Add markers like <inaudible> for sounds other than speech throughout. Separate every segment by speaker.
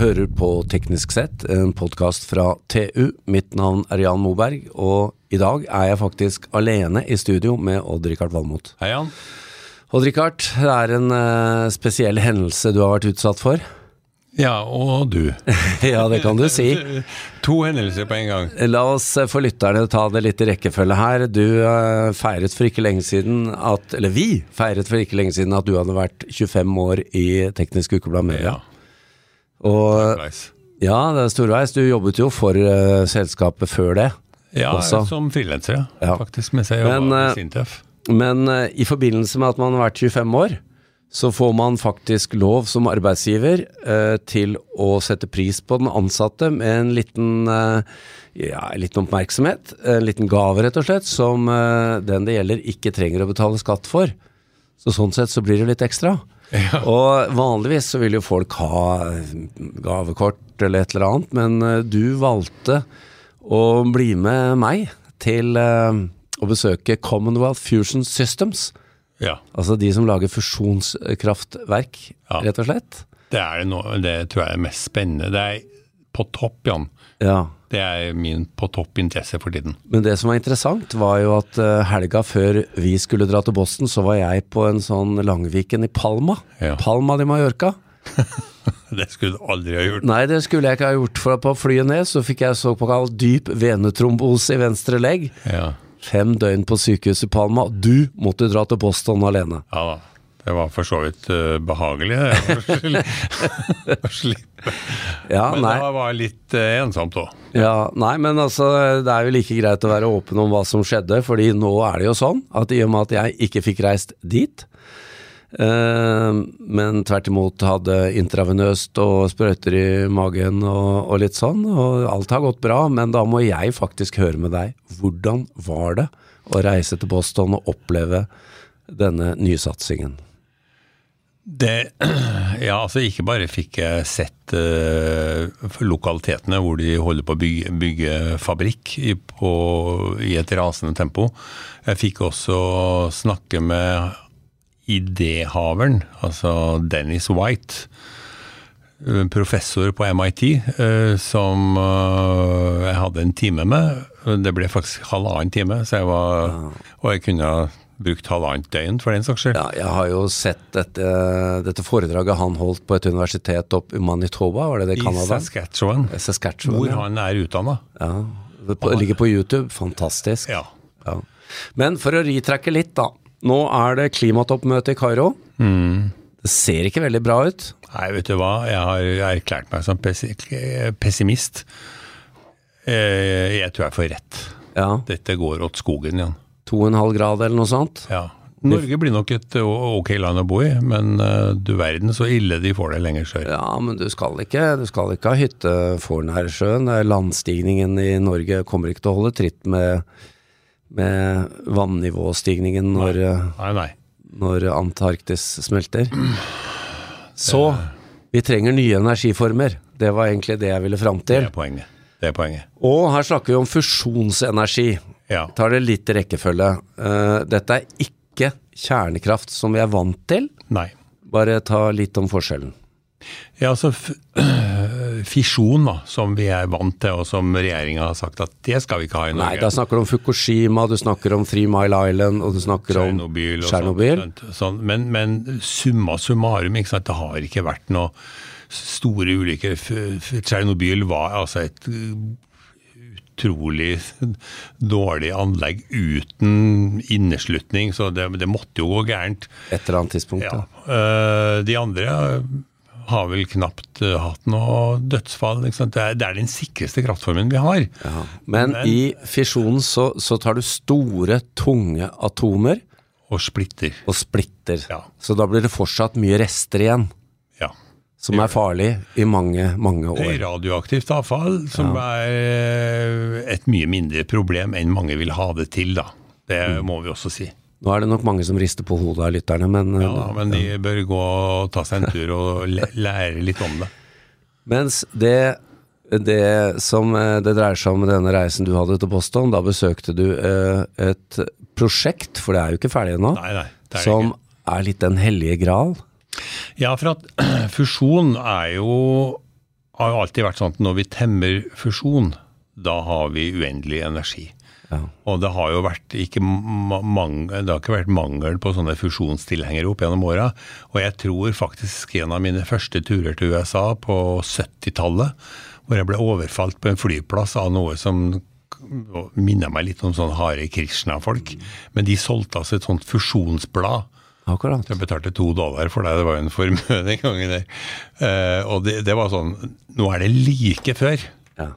Speaker 1: hører på Teknisk sett, en podkast fra TU. Mitt navn er Jan Moberg, og i dag er jeg faktisk alene i studio med Odd-Rikard Valmot.
Speaker 2: Hei, Jan.
Speaker 1: Odd-Rikard, det er en eh, spesiell hendelse du har vært utsatt for. <laughs>
Speaker 2: Ja, og du.
Speaker 1: ja, det kan du si.
Speaker 2: To hendelser på en gang.
Speaker 1: La oss eh, for lytterne ta det litt i rekkefølge her. Du eh, feiret for ikke lenge siden at Eller vi feiret for ikke lenge siden at du hadde vært 25 år i Teknisk Ukeblad Media. Og
Speaker 2: Veis.
Speaker 1: ja, det er storveis. Du jobbet jo for eh, selskapet før det.
Speaker 2: Ja,
Speaker 1: Også.
Speaker 2: som frilanser,
Speaker 1: Ja.
Speaker 2: ja. faktisk. Mens jeg
Speaker 1: Men,
Speaker 2: jobba
Speaker 1: eh,
Speaker 2: med Sintef.
Speaker 1: Men eh, i forbindelse med at man har vært 25 år, så får man faktisk lov som arbeidsgiver eh, til å sette pris på den ansatte med en liten, eh, ja, en liten oppmerksomhet, en liten gave rett og slett, som eh, den det gjelder ikke trenger å betale skatt for. Så sånn sett så blir det litt ekstra. Og vanligvis så vil jo folk ha eh, gavekort eller et eller annet, men eh, du valgte å bli med meg til eh, å besøke Commonwealth Fusion Systems.
Speaker 2: Ja.
Speaker 1: Altså de som lager fusjonskraftverk,
Speaker 2: Ja.
Speaker 1: rett og slett.
Speaker 2: Det er det nå. Det tror jeg er mest spennende. Det er på topp, Jan.
Speaker 1: Ja.
Speaker 2: Det er min på topp interesse for tiden.
Speaker 1: Men det som var interessant, var jo at eh, helga før vi skulle dra til Boston, så var jeg på en sånn Langviken i Palma.
Speaker 2: Ja.
Speaker 1: Palma de Mallorca.
Speaker 2: Det skulle du aldri ha gjort.
Speaker 1: Nei, det skulle jeg ikke ha gjort, for på flyet ned så fikk jeg såkalt dyp venetrombose i venstre legg.
Speaker 2: Ja.
Speaker 1: Fem døgn på sykehuset i Palma. Du måtte dra til Boston alene.
Speaker 2: ja da. Det var for så vidt eh, behagelig, det. Å
Speaker 1: <laughs>
Speaker 2: sli- å slippe.
Speaker 1: Ja,
Speaker 2: Men
Speaker 1: nei.
Speaker 2: det var litt eh, ensomt òg.
Speaker 1: Ja, nei, men altså, det er jo like greit å være åpen om hva som skjedde, fordi nå er det jo sånn at i og med at jeg ikke fikk reist dit, eh, men tvert imot hadde intravenøst og sprøyter i magen og, og litt sånn, og alt har gått bra, men da må jeg faktisk høre med deg. Hvordan var det å reise til Boston og oppleve denne nysatsingen?
Speaker 2: Det, <clears throat> ja, altså ikke bare fikk jeg sett eh, for lokalitetene hvor de holder på å bygge, bygge fabrikk i, på, i et rasende tempo. Jeg fikk også snakke med idéhaveren, altså Dennis White, en professor på MIT, eh, som eh, jeg hadde en time med. Det ble faktisk halvannen time, så jeg var, og jeg kunne ha brukt halvannet døgn for den saks skyld.
Speaker 1: Ja, jeg har jo sett dette, dette foredraget han holdt på et universitet opp i Manitoba, var det det i
Speaker 2: I
Speaker 1: Canada?
Speaker 2: Saskatchewan.
Speaker 1: Saskatchewan.
Speaker 2: Hvor
Speaker 1: ja.
Speaker 2: han er utdanna.
Speaker 1: Ja, det på, ligger på YouTube. Fantastisk.
Speaker 2: Ja.
Speaker 1: Ja. Men for å ritrekke litt, da. Nå er det klimatoppmøte i Kairo.
Speaker 2: Mm.
Speaker 1: Det ser ikke veldig bra ut.
Speaker 2: Nei, vet du hva, jeg har erklært meg som pessi- pessimist. Eh, Jeg tror jeg får rett.
Speaker 1: Ja,
Speaker 2: Dette går åt skogen igjen.
Speaker 1: to og en halv grad eller noe sånt.
Speaker 2: Ja. Norge blir nok et o- ok land å bo i, men eh, du verden så ille de får det lenger sør.
Speaker 1: Ja, men du skal ikke, du skal ikke ha hytte foran her i sjøen. Det er Landstigningen i Norge kommer ikke til å holde tritt med, med vannivåstigningen når,
Speaker 2: Nei, nei.
Speaker 1: når Antarktis smelter. Så vi trenger nye energiformer. Det var egentlig det jeg ville fram
Speaker 2: Det
Speaker 1: til.
Speaker 2: er poenget. Det er poenget.
Speaker 1: Og her snakker vi om fusjonsenergi.
Speaker 2: Ja.
Speaker 1: Tar det litt i rekkefølge. Eh, Dette er ikke kjernekraft som vi er vant til.
Speaker 2: Nei.
Speaker 1: Bare ta litt om forskjellen.
Speaker 2: Ja, altså f <clears throat> fisjon, da, som vi er vant til, og som regjeringa har sagt at det skal vi ikke ha i
Speaker 1: Nei,
Speaker 2: Norge.
Speaker 1: da snakker du om Fukushima, du snakker om Three Mile Island, og du snakker om
Speaker 2: Tsjernobyl. og
Speaker 1: Tsjernobyl.
Speaker 2: sånt, sånt, sånn. Men, men summa summarum, ikke sant? det har ikke vært noe store ulykker. F- f- Tsjernobyl var altså et uh, utrolig dårlig anlegg uten inneslutning, så det, det måtte jo gå gærent.
Speaker 1: Et eller annet tidspunkt.
Speaker 2: Ja.
Speaker 1: Ja.
Speaker 2: eh, De andre har vel knapt eh, hatt noe dødsfall. Ikke sant? Det, er, det er den sikreste kraftformen vi har.
Speaker 1: Men i fisjonen så, så tar du store, tunge atomer
Speaker 2: Og splitter.
Speaker 1: og splitter.
Speaker 2: Ja.
Speaker 1: Så da blir det fortsatt mye rester igjen,
Speaker 2: Ja.
Speaker 1: som er farlig i mange, mange
Speaker 2: Det
Speaker 1: år.
Speaker 2: er radioaktivt avfall, som er eh, et mye mindre problem enn mange vil ha det til, da. Det må vi også si.
Speaker 1: Nå er det nok mange som rister på hodet av lytterne, men eh,
Speaker 2: Ja, men de bør gå og ta seg en tur og læ- lære litt om det.
Speaker 1: Mens det, det som eh, det dreier seg om med denne reisen du hadde til Boston, da besøkte du eh, et prosjekt, for det er jo ikke ferdig ennå,
Speaker 2: Nei, nei. Det er det
Speaker 1: som er litt den hellige gral.
Speaker 2: <clears throat> ikke. Ja, for at fusjon er jo har jo alltid vært sånn at når vi temmer fusjon, da har vi uendelig energi.
Speaker 1: Ja.
Speaker 2: Og det har jo vært ikke, ma- mangel, det har ikke vært mangel på sånne fusjonstilhengere opp gjennom åra. Og jeg tror faktisk en av mine første turer til USA på 70-tallet, hvor jeg ble overfalt på en flyplass av noe som minna meg litt om sånn Hare Krishna-folk. Men de solgte altså et sånt fusjonsblad.
Speaker 1: Akkurat.
Speaker 2: Jeg betalte to dollar for deg, det var jo en formue den gangen der. Eh, og det, det var sånn Nå er det like før.
Speaker 1: Ja.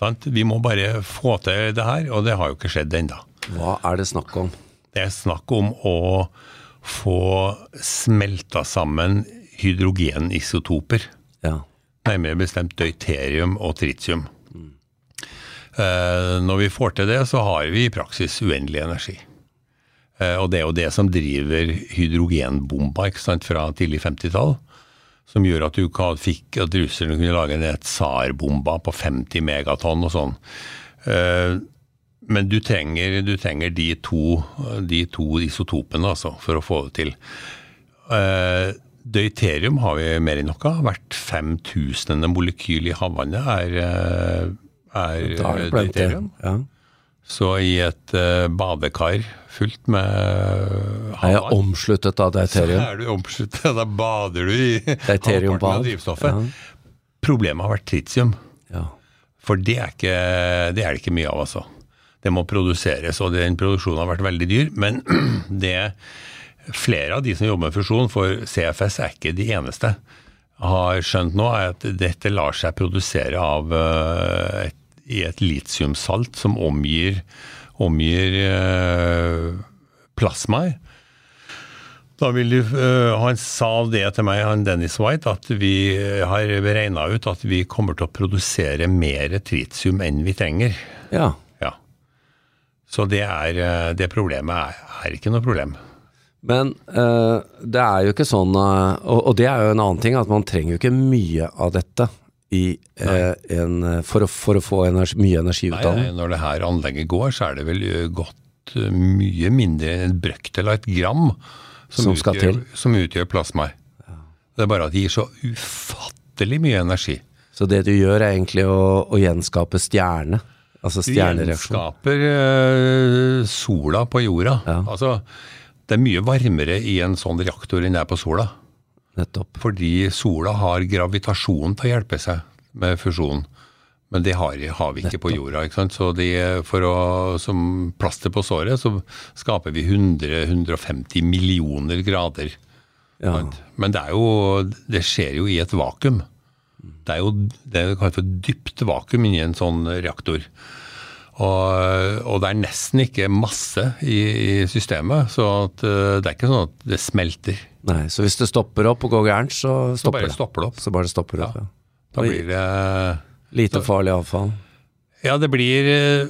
Speaker 2: Sant? Vi må bare få til det her, og det har jo ikke skjedd ennå.
Speaker 1: Hva er det snakk om?
Speaker 2: Det er snakk om å få smelta sammen hydrogenisotoper.
Speaker 1: Ja.
Speaker 2: Nærmere bestemt deuterium og tritium. Eh, Når vi får til det, så har vi i praksis uendelig energi. Eh, Og det er jo det som driver hydrogenbomba ikke sant, fra tidlig 50-tall. Som gjør at, du ka- fikk, at russerne kunne lage en tsarbomba på 50 megatonn og sånn. Eh, Men du trenger, du trenger de, to, de to isotopene altså, for å få det til. Eh, Deuterium har vi mer enn nok av. Hvert 5000. molekyl i havvannet er, eh, er,
Speaker 1: Da er det
Speaker 2: eh,
Speaker 1: plenty.
Speaker 2: deuterium.
Speaker 1: Ja.
Speaker 2: Så i et eh, badekar fullt med
Speaker 1: Er jeg
Speaker 2: havvann,
Speaker 1: omsluttet av deuterium?
Speaker 2: er du omsluttet. Da bader du i
Speaker 1: Deuterium på
Speaker 2: halvparten av
Speaker 1: alt.
Speaker 2: drivstoffet.
Speaker 1: Ja.
Speaker 2: Problemet har vært tritium,
Speaker 1: Ja.
Speaker 2: for det er, ikke, det er det ikke mye av, altså. Det må produseres, og den produksjonen har vært veldig dyr. Men <clears throat> det flere av de som jobber med fusjon, for CFS er ikke de eneste, har skjønt nå, er at dette lar seg produsere av eh, et, i et litiumsalt som omgir, omgir eh, plasmaer. Da vil du, øh, Han sa det til meg, han Dennis White, at vi eh, har regna ut at vi kommer til å produsere mer tritium enn vi trenger.
Speaker 1: ja.
Speaker 2: Ja. Så det, er, øh, det problemet er, er ikke noe problem.
Speaker 1: Men eh, det er jo ikke sånn eh, og, og det er jo en annen ting, at man trenger jo ikke mye av dette i, eh, en, eh, for, å, for å få energi, mye energi ut
Speaker 2: Nei,
Speaker 1: av
Speaker 2: nei,
Speaker 1: den.
Speaker 2: når det her anlegget går, så er det vel øh, gått øh, mye mindre enn en brøkdel av et gram
Speaker 1: Som skal
Speaker 2: utgjør,
Speaker 1: til.
Speaker 2: som utgjør plasmaer. Det er bare at det gir så ufattelig mye energi.
Speaker 1: Så det du gjør, er egentlig å, å gjenskape stjerne. Altså
Speaker 2: Du
Speaker 1: stjernereaksjon.
Speaker 2: Gjenskaper eh, sola på jorda.
Speaker 1: Ja.
Speaker 2: Altså, det er mye varmere i en sånn reaktor enn det er på sola.
Speaker 1: Nettopp.
Speaker 2: Fordi sola har gravitasjon til å hjelpe seg med fusjonen. Men det har, har vi ikke på jorda. ikke sant? Så de, for å, som plaster på såret, så skaper vi 100-150 millioner grader.
Speaker 1: Ja.
Speaker 2: Sant? Men det, er jo, det skjer jo i et vakuum. Det er jo det vi kaller for dypt vakuum inni en sånn reaktor. Og, og det er nesten ikke masse i, i systemet, så at, eh, det er ikke sånn at det smelter.
Speaker 1: Nei, så hvis det stopper opp og går gærent, så
Speaker 2: Så
Speaker 1: stopper
Speaker 2: bare
Speaker 1: det.
Speaker 2: stopper det opp.
Speaker 1: Så bare det stopper opp,
Speaker 2: Ja.
Speaker 1: ja.
Speaker 2: Da blir det
Speaker 1: Lite farlig avfall.
Speaker 2: Ja, det blir eh,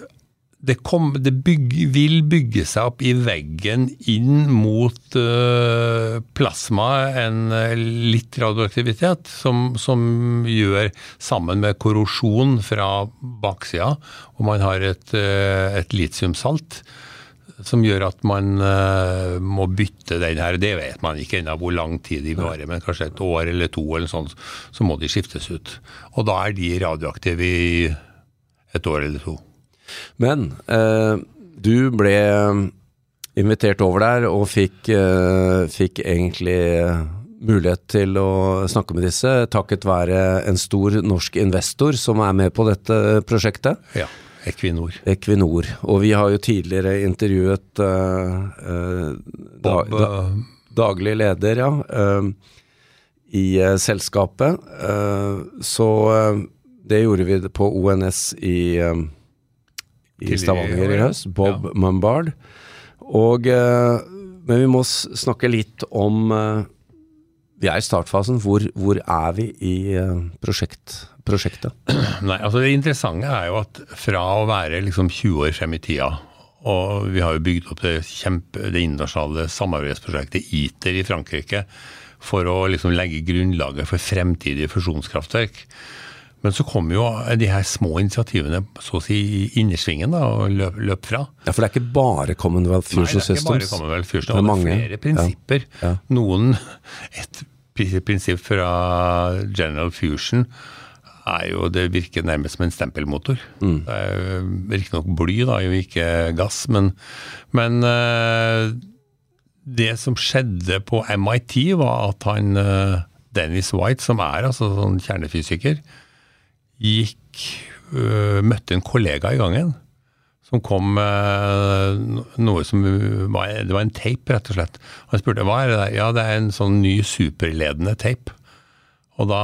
Speaker 2: Det, kom, det bygg, vil bygge seg opp i veggen inn mot eh, plasma, en eh, litt radioaktivitet, som, som gjør sammen med korrosjon fra baksida, og man har et, eh, et litiumsalt. Som gjør at man eh, må bytte den her. Det vet man ikke ennå hvor lang tid de varer, men kanskje et år eller to, eller sånn, så må de skiftes ut. Og da er de radioaktive i et år eller to.
Speaker 1: Men eh, du ble eh, invitert over der og fikk, eh, fikk egentlig eh, mulighet til å snakke med disse, takket være en stor norsk investor som er med på dette prosjektet.
Speaker 2: Ja, Equinor.
Speaker 1: Equinor. Og vi har jo tidligere intervjuet eh, eh, da-
Speaker 2: Bob,
Speaker 1: da-
Speaker 2: eh,
Speaker 1: daglig leder, ja, eh, i eh, selskapet. Eh, så eh, det gjorde vi på ONS i, eh, i
Speaker 2: Tidligere i
Speaker 1: Stavanger
Speaker 2: år,
Speaker 1: i
Speaker 2: ja.
Speaker 1: høst. Bob Mumbard. Og, eh, men vi må s- snakke litt om eh, Vi er i startfasen. Hvor, hvor er vi i eh, prosjekt, prosjektet?
Speaker 2: Nei, altså Det interessante er jo at fra å være liksom 20 år frem i tida, og vi har jo bygd opp det, kjempe, det internasjonale samarbeidsprosjektet ITER i Frankrike for å liksom legge grunnlaget for fremtidige fusjonskraftverk. Men så kom jo de her små initiativene så å si i innersvingen da, og løp, løp fra.
Speaker 1: Ja, For det er ikke bare Commonwealth Fusion
Speaker 2: Nei, det er
Speaker 1: Systems.
Speaker 2: ikke bare Commonwealth Fusion,
Speaker 1: Det er
Speaker 2: og det
Speaker 1: mange.
Speaker 2: er flere prinsipper.
Speaker 1: Ja.
Speaker 2: <laughs> Noen, et pri- prinsipp fra General Fusion er jo, det virker nærmest som en stempelmotor.
Speaker 1: Mm.
Speaker 2: Det er jo riktignok bly, da, jo ikke gass, men, men eh, det som skjedde på MIT, var at han eh, Dennis White, som er altså sånn kjernefysiker, gikk eh, Møtte en kollega i gangen som kom med noe som var, Det var en tape, rett og slett. Han spurte hva er det der? Ja, det er en sånn ny superledende tape. Og da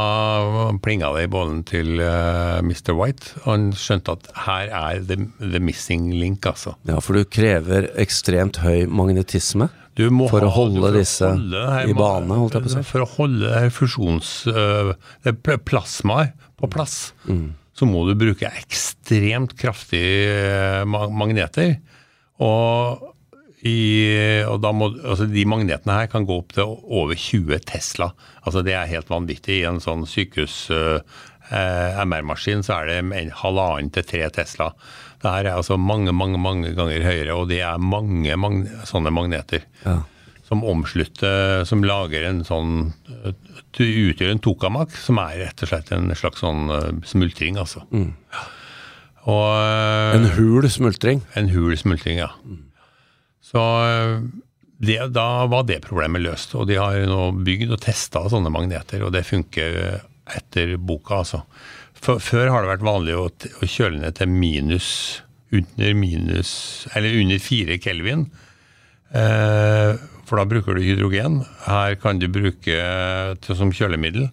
Speaker 2: plinga det i bollen til eh, Mr. White. og Han skjønte at her er the, the missing link, altså.
Speaker 1: Ja, for du krever ekstremt høy magnetisme.
Speaker 2: Du må
Speaker 1: For å
Speaker 2: ha-
Speaker 1: holde
Speaker 2: for å
Speaker 1: disse
Speaker 2: holde
Speaker 1: i
Speaker 2: her-
Speaker 1: bane, holdt jeg på å si.
Speaker 2: For å holde her fusjons... øh, det pl- plasmaer på plass,
Speaker 1: Mm.
Speaker 2: så må du bruke ekstremt kraftige øh, ma- magneter. Og, i, og da må, altså de magnetene her kan gå opp til over 20 Tesla. Altså det er helt vanvittig. I en sånn sykehus... øh, eh, MR-maskin så er det en halvannen til tre Tesla. Det her er altså mange, mange mange ganger høyere, og det er mange magne, sånne magneter
Speaker 1: Ja.
Speaker 2: som omslutter, som lager en sånn eh, Utgjør en tokamak, som er rett og slett en slags sånn eh, smultring, altså. Ja. Og, eh,
Speaker 1: En hul smultring.
Speaker 2: en hul smultring, ja. Så eh, det, da var det problemet løst. Og de har nå bygd og testa sånne magneter, og det funker eh, etter boka, altså. F- Før har det vært vanlig å, t- å kjøle ned til minus under minus Eller under fire kelvin. Eh, for da bruker du hydrogen. Her kan du bruke eh, til, som kjølemiddel.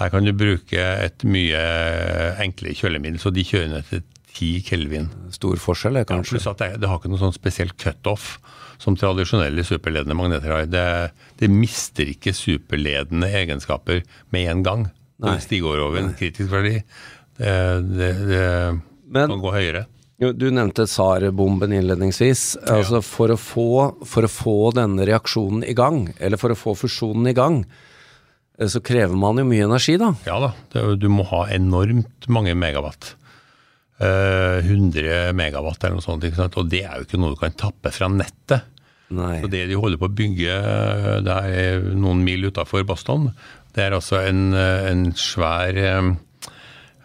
Speaker 2: Her kan du bruke et mye eh, enklere kjølemiddel, så de kjører ned til ti kelvin.
Speaker 1: Stor forskjell, det, kanskje.
Speaker 2: Pluss at det, det har ikke noe sånn spesiell cutoff som tradisjonelle superledende magneter har. Det, det mister ikke superledende egenskaper med en gang.
Speaker 1: Nei.
Speaker 2: Hvis de går over en kritisk verdi. Det, det, det
Speaker 1: Men-
Speaker 2: kan gå høyere.
Speaker 1: Jo, Du nevnte SAR-bomben innledningsvis. Altså for, å få, for å få denne reaksjonen i gang, eller for å få fusjonen i gang, eh, så krever man jo mye energi, da.
Speaker 2: Ja da, det, du må ha enormt mange megawatt. Eh, 100 megawatt eller noe sånt. Ikke sant? Og det er jo ikke noe du kan tappe fra nettet.
Speaker 1: Nei.
Speaker 2: Så det de holder på å bygge eh, det er noen mil utafor Boston, det er altså en, eh, en svær eh,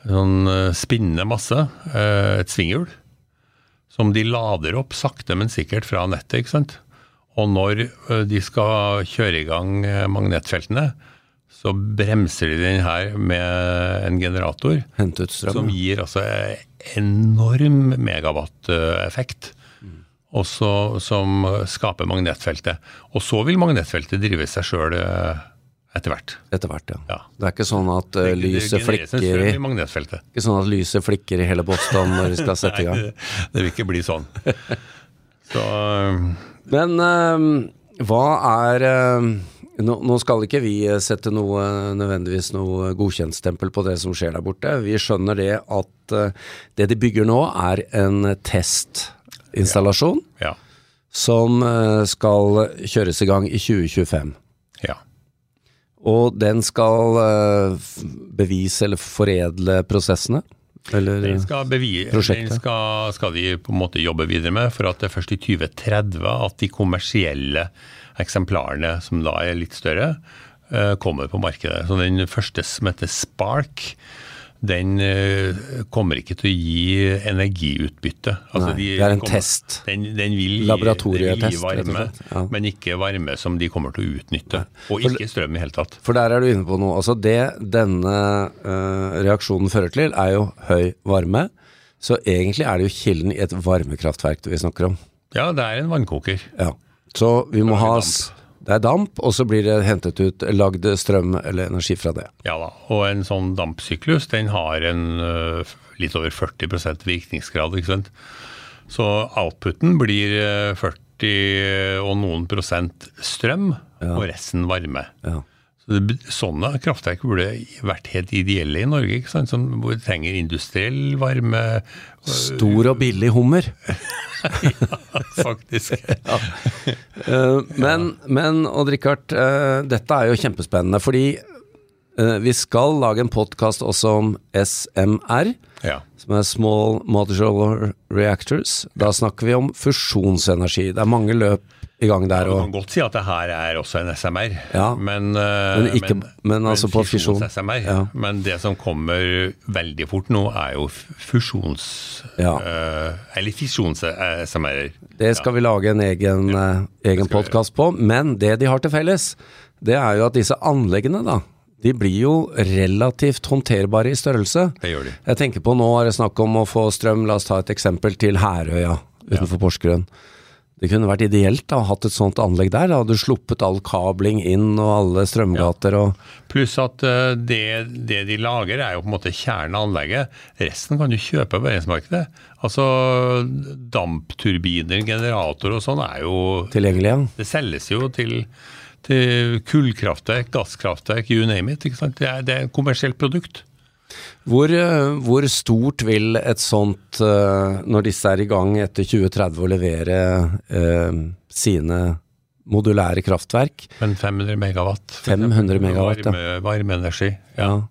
Speaker 2: sånn eh, spinnende masse, eh, et svinghjul, som de lader opp sakte, men sikkert fra nettet. ikke sant? Og når eh, de skal kjøre i gang eh, magnetfeltene, så bremser de den her med en generator
Speaker 1: Hente ut strøm.
Speaker 2: som gir altså eh, enorm megawatt-effekt.
Speaker 1: Mm.
Speaker 2: Og så, som eh, skaper magnetfeltet. Og så vil magnetfeltet drive seg sjøl etter hvert.
Speaker 1: Etter hvert, ja.
Speaker 2: Ja.
Speaker 1: Det er ikke sånn at eh, lyset
Speaker 2: Det genereres en
Speaker 1: flikker i
Speaker 2: strøm i magnetfeltet.
Speaker 1: ikke sånn at lyset flikker i hele Boston når de
Speaker 2: <laughs>
Speaker 1: skal sette i gang.
Speaker 2: Det, det vil ikke bli
Speaker 1: <laughs>
Speaker 2: sånn. Så eh,
Speaker 1: Men eh, hva er eh, nå, nå skal ikke vi eh, sette noe, nødvendigvis noe godkjentstempel på det som skjer der borte. Vi skjønner det at eh, det de bygger nå er en testinstallasjon
Speaker 2: ja.
Speaker 1: som eh, skal kjøres i gang i 2025.
Speaker 2: ja.
Speaker 1: Og den skal eh, f- bevise eller foredle prosessene? Eller
Speaker 2: Den skal, bevi,
Speaker 1: prosjektet.
Speaker 2: den skal, skal de på en måte jobbe videre med, for at det er først i 2030 at de kommersielle eksemplarene, som da er litt større, eh, kommer på markedet. Så den første som heter Spark, den eh, kommer ikke til å gi energiutbytte. Altså,
Speaker 1: Nei,
Speaker 2: de
Speaker 1: det er en
Speaker 2: kommer-
Speaker 1: test.
Speaker 2: Den, den vil gi-
Speaker 1: Laboratorietest,
Speaker 2: den vil
Speaker 1: rett
Speaker 2: gi
Speaker 1: og
Speaker 2: varme,
Speaker 1: slett, ja.
Speaker 2: men ikke varme som de kommer til å utnytte. Og ikke strøm i hele tatt.
Speaker 1: For der er du inne på noe. Altså det denne eh, reaksjonen fører til, er jo høy varme. Så egentlig er det jo kilden i et varmekraftverk vi snakker om.
Speaker 2: Ja, det er en vannkoker.
Speaker 1: Ja. Så vi må ha s- Det er damp, og så blir det hentet ut lagd strøm eller energi fra det.
Speaker 2: Ja da, og en sånn dampsyklus den har en ø, f- litt over 40 virkningsgrad, ikke sant. Så outputen blir ø, 40 og noen prosent strøm, og resten varme.
Speaker 1: Ja.
Speaker 2: Så det, b- sånne kraftverk burde vært helt ideelle i Norge, ikke sant? Som, hvor vi trenger industriell varme, <laughs>
Speaker 1: Stor og billig hummer.
Speaker 2: faktisk.
Speaker 1: Eh, men, men, Odd Rikard, eh, dette er jo kjempespennende, fordi Eh, Vi skal lage en podkast også om SMR,
Speaker 2: Ja.
Speaker 1: som er Small Modular Reactors. Da snakker vi om fusjonsenergi. Det er mange løp i gang der.
Speaker 2: Du
Speaker 1: Og,
Speaker 2: kan godt si at det her er også en SMR,
Speaker 1: Ja.
Speaker 2: men,
Speaker 1: Men ikke- men altså på fisjon.
Speaker 2: SMR.
Speaker 1: Ja.
Speaker 2: Men det som kommer veldig fort nå, er jo f- fusjons...
Speaker 1: Ja.
Speaker 2: eh, eller fisjons-SMR-er.
Speaker 1: Det skal vi lage en egen, eh, egen podkast på. Men det de har til felles, det er jo at disse anleggene, da, de blir jo relativt håndterbare i størrelse.
Speaker 2: Det gjør de.
Speaker 1: Jeg tenker på nå er det snakk om å få strøm, la oss ta et eksempel til Herøya utenfor Porsgrunn. Det kunne vært ideelt da, å hatt et sånt anlegg der. Da hadde du sluppet all kabling inn og alle strømgater og
Speaker 2: Pluss at eh, det, det de lager er jo på en måte kjernen av anlegget. Resten kan du kjøpe på verdensmarkedet. Altså dampturbiner, generatorer og sånn er jo
Speaker 1: tilgjengelig. Ja.
Speaker 2: Det selges jo til, til kullkraftverk, gasskraftverk, you name it. ikke sant? Det er, det er et kommersielt produkt.
Speaker 1: Hvor, eh, hvor stort vil et sånt, eh, når disse er i gang etter 2030, å levere eh, sine modulære kraftverk?
Speaker 2: Men 500 megawatt. for
Speaker 1: 500
Speaker 2: eksempel,
Speaker 1: megawatt, ja.
Speaker 2: varme, Varmeenergi. Ja.
Speaker 1: Ja.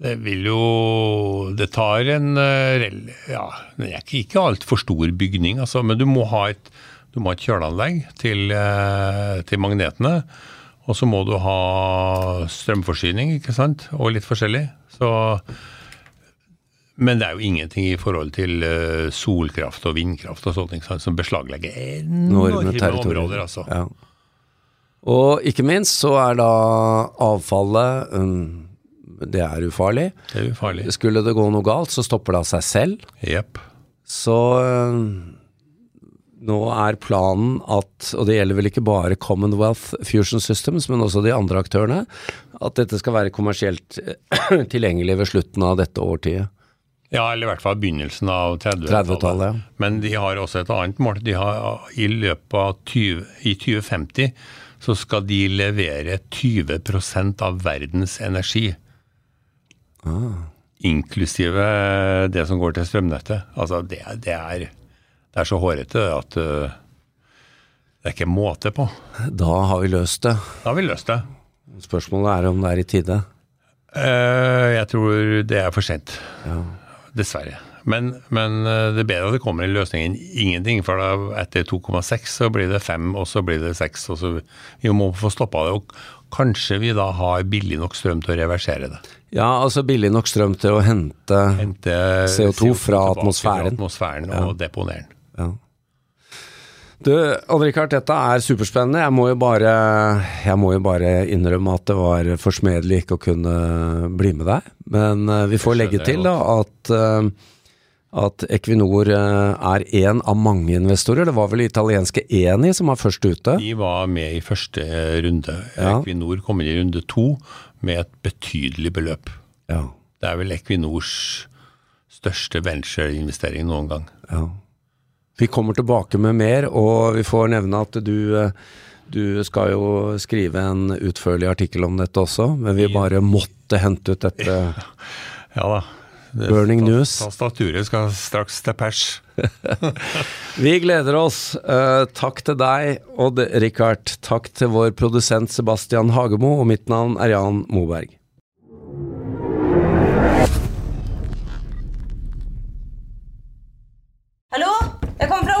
Speaker 2: Det vil jo Det tar en eh, rel- Ja, det er ikke- ikke altfor stor bygning, altså, men du må ha et, du må ha et kjøleanlegg til, eh, til magnetene. Og så må du ha strømforsyning, ikke sant, og litt forskjellig. Så men det er jo ingenting i forhold til eh, solkraft og vindkraft og sånt, ikke sant, som beslaglegger enorme
Speaker 1: Enorme territorier.
Speaker 2: områder, altså.
Speaker 1: Ja. Og ikke minst så er da avfallet um, Det er ufarlig.
Speaker 2: Det er jo farlig.
Speaker 1: Skulle det gå noe galt, så stopper det av seg selv.
Speaker 2: Jepp.
Speaker 1: Så eh, nå er planen at, og det gjelder vel ikke bare Commonwealth Fusion Systems, men også de andre aktørene, at dette skal være kommersielt eh, <clears throat> tilgjengelig ved slutten av dette årtiet.
Speaker 2: Ja, eller i hvert fall begynnelsen av 30-tallet.
Speaker 1: 30-tallet, ja.
Speaker 2: Men de har også et annet mål. De har, I løpet av 20, i 2050 så skal de levere 20 av verdens energi. Inklusive det som går til strømnettet. Altså, det, er- det, er, det er så hårete at uh, det er ikke måte på.
Speaker 1: Da har vi løst det.
Speaker 2: Da har vi løst det.
Speaker 1: Spørsmålet er om det er i tide.
Speaker 2: Eh, jeg tror det er for sent. Dessverre. Men, men eh, det er bedre at det kommer en løsning enn ingenting. For da, etter 2,6 så blir det 5, og så blir det 6. Og så, vi må få stoppa det. Og kanskje vi da har billig nok strøm til å reversere det.
Speaker 1: Ja, altså billig nok strøm til å hente
Speaker 2: Hente
Speaker 1: CO2
Speaker 2: tilbake
Speaker 1: fra
Speaker 2: til
Speaker 1: atmosfæren.
Speaker 2: atmosfæren og deponere den.
Speaker 1: Ja. Du, Odd-Rikard, dette er superspennende. Jeg må, jo bare, jeg må jo bare innrømme at det var forsmedelig ikke å kunne bli med deg. Men eh, vi får legge
Speaker 2: skjønner jeg
Speaker 1: til da at, eh, at Equinor eh, er én av mange investorer. Det var vel italienske Eni som var først ute.
Speaker 2: De var med i første eh, runde.
Speaker 1: Ja.
Speaker 2: Equinor kom inn i runde to med et betydelig beløp.
Speaker 1: Ja,
Speaker 2: Det er vel Equinors største ventureinvestering noen gang.
Speaker 1: ja. Vi kommer tilbake med mer, og vi får nevne at du eh, du skal jo skrive en utførlig artikkel om dette også, men vi bare måtte hente ut dette.
Speaker 2: Ja da. Det-
Speaker 1: Burning
Speaker 2: tas-
Speaker 1: news.
Speaker 2: Tastaturet skal straks til pers.
Speaker 1: Vi gleder oss. Eh, takk til deg, Odd Rikard. Takk til vår produsent Sebastian Hagemo, og mitt navn er Jan Moberg.
Speaker 3: Hallo? Jeg kommer fra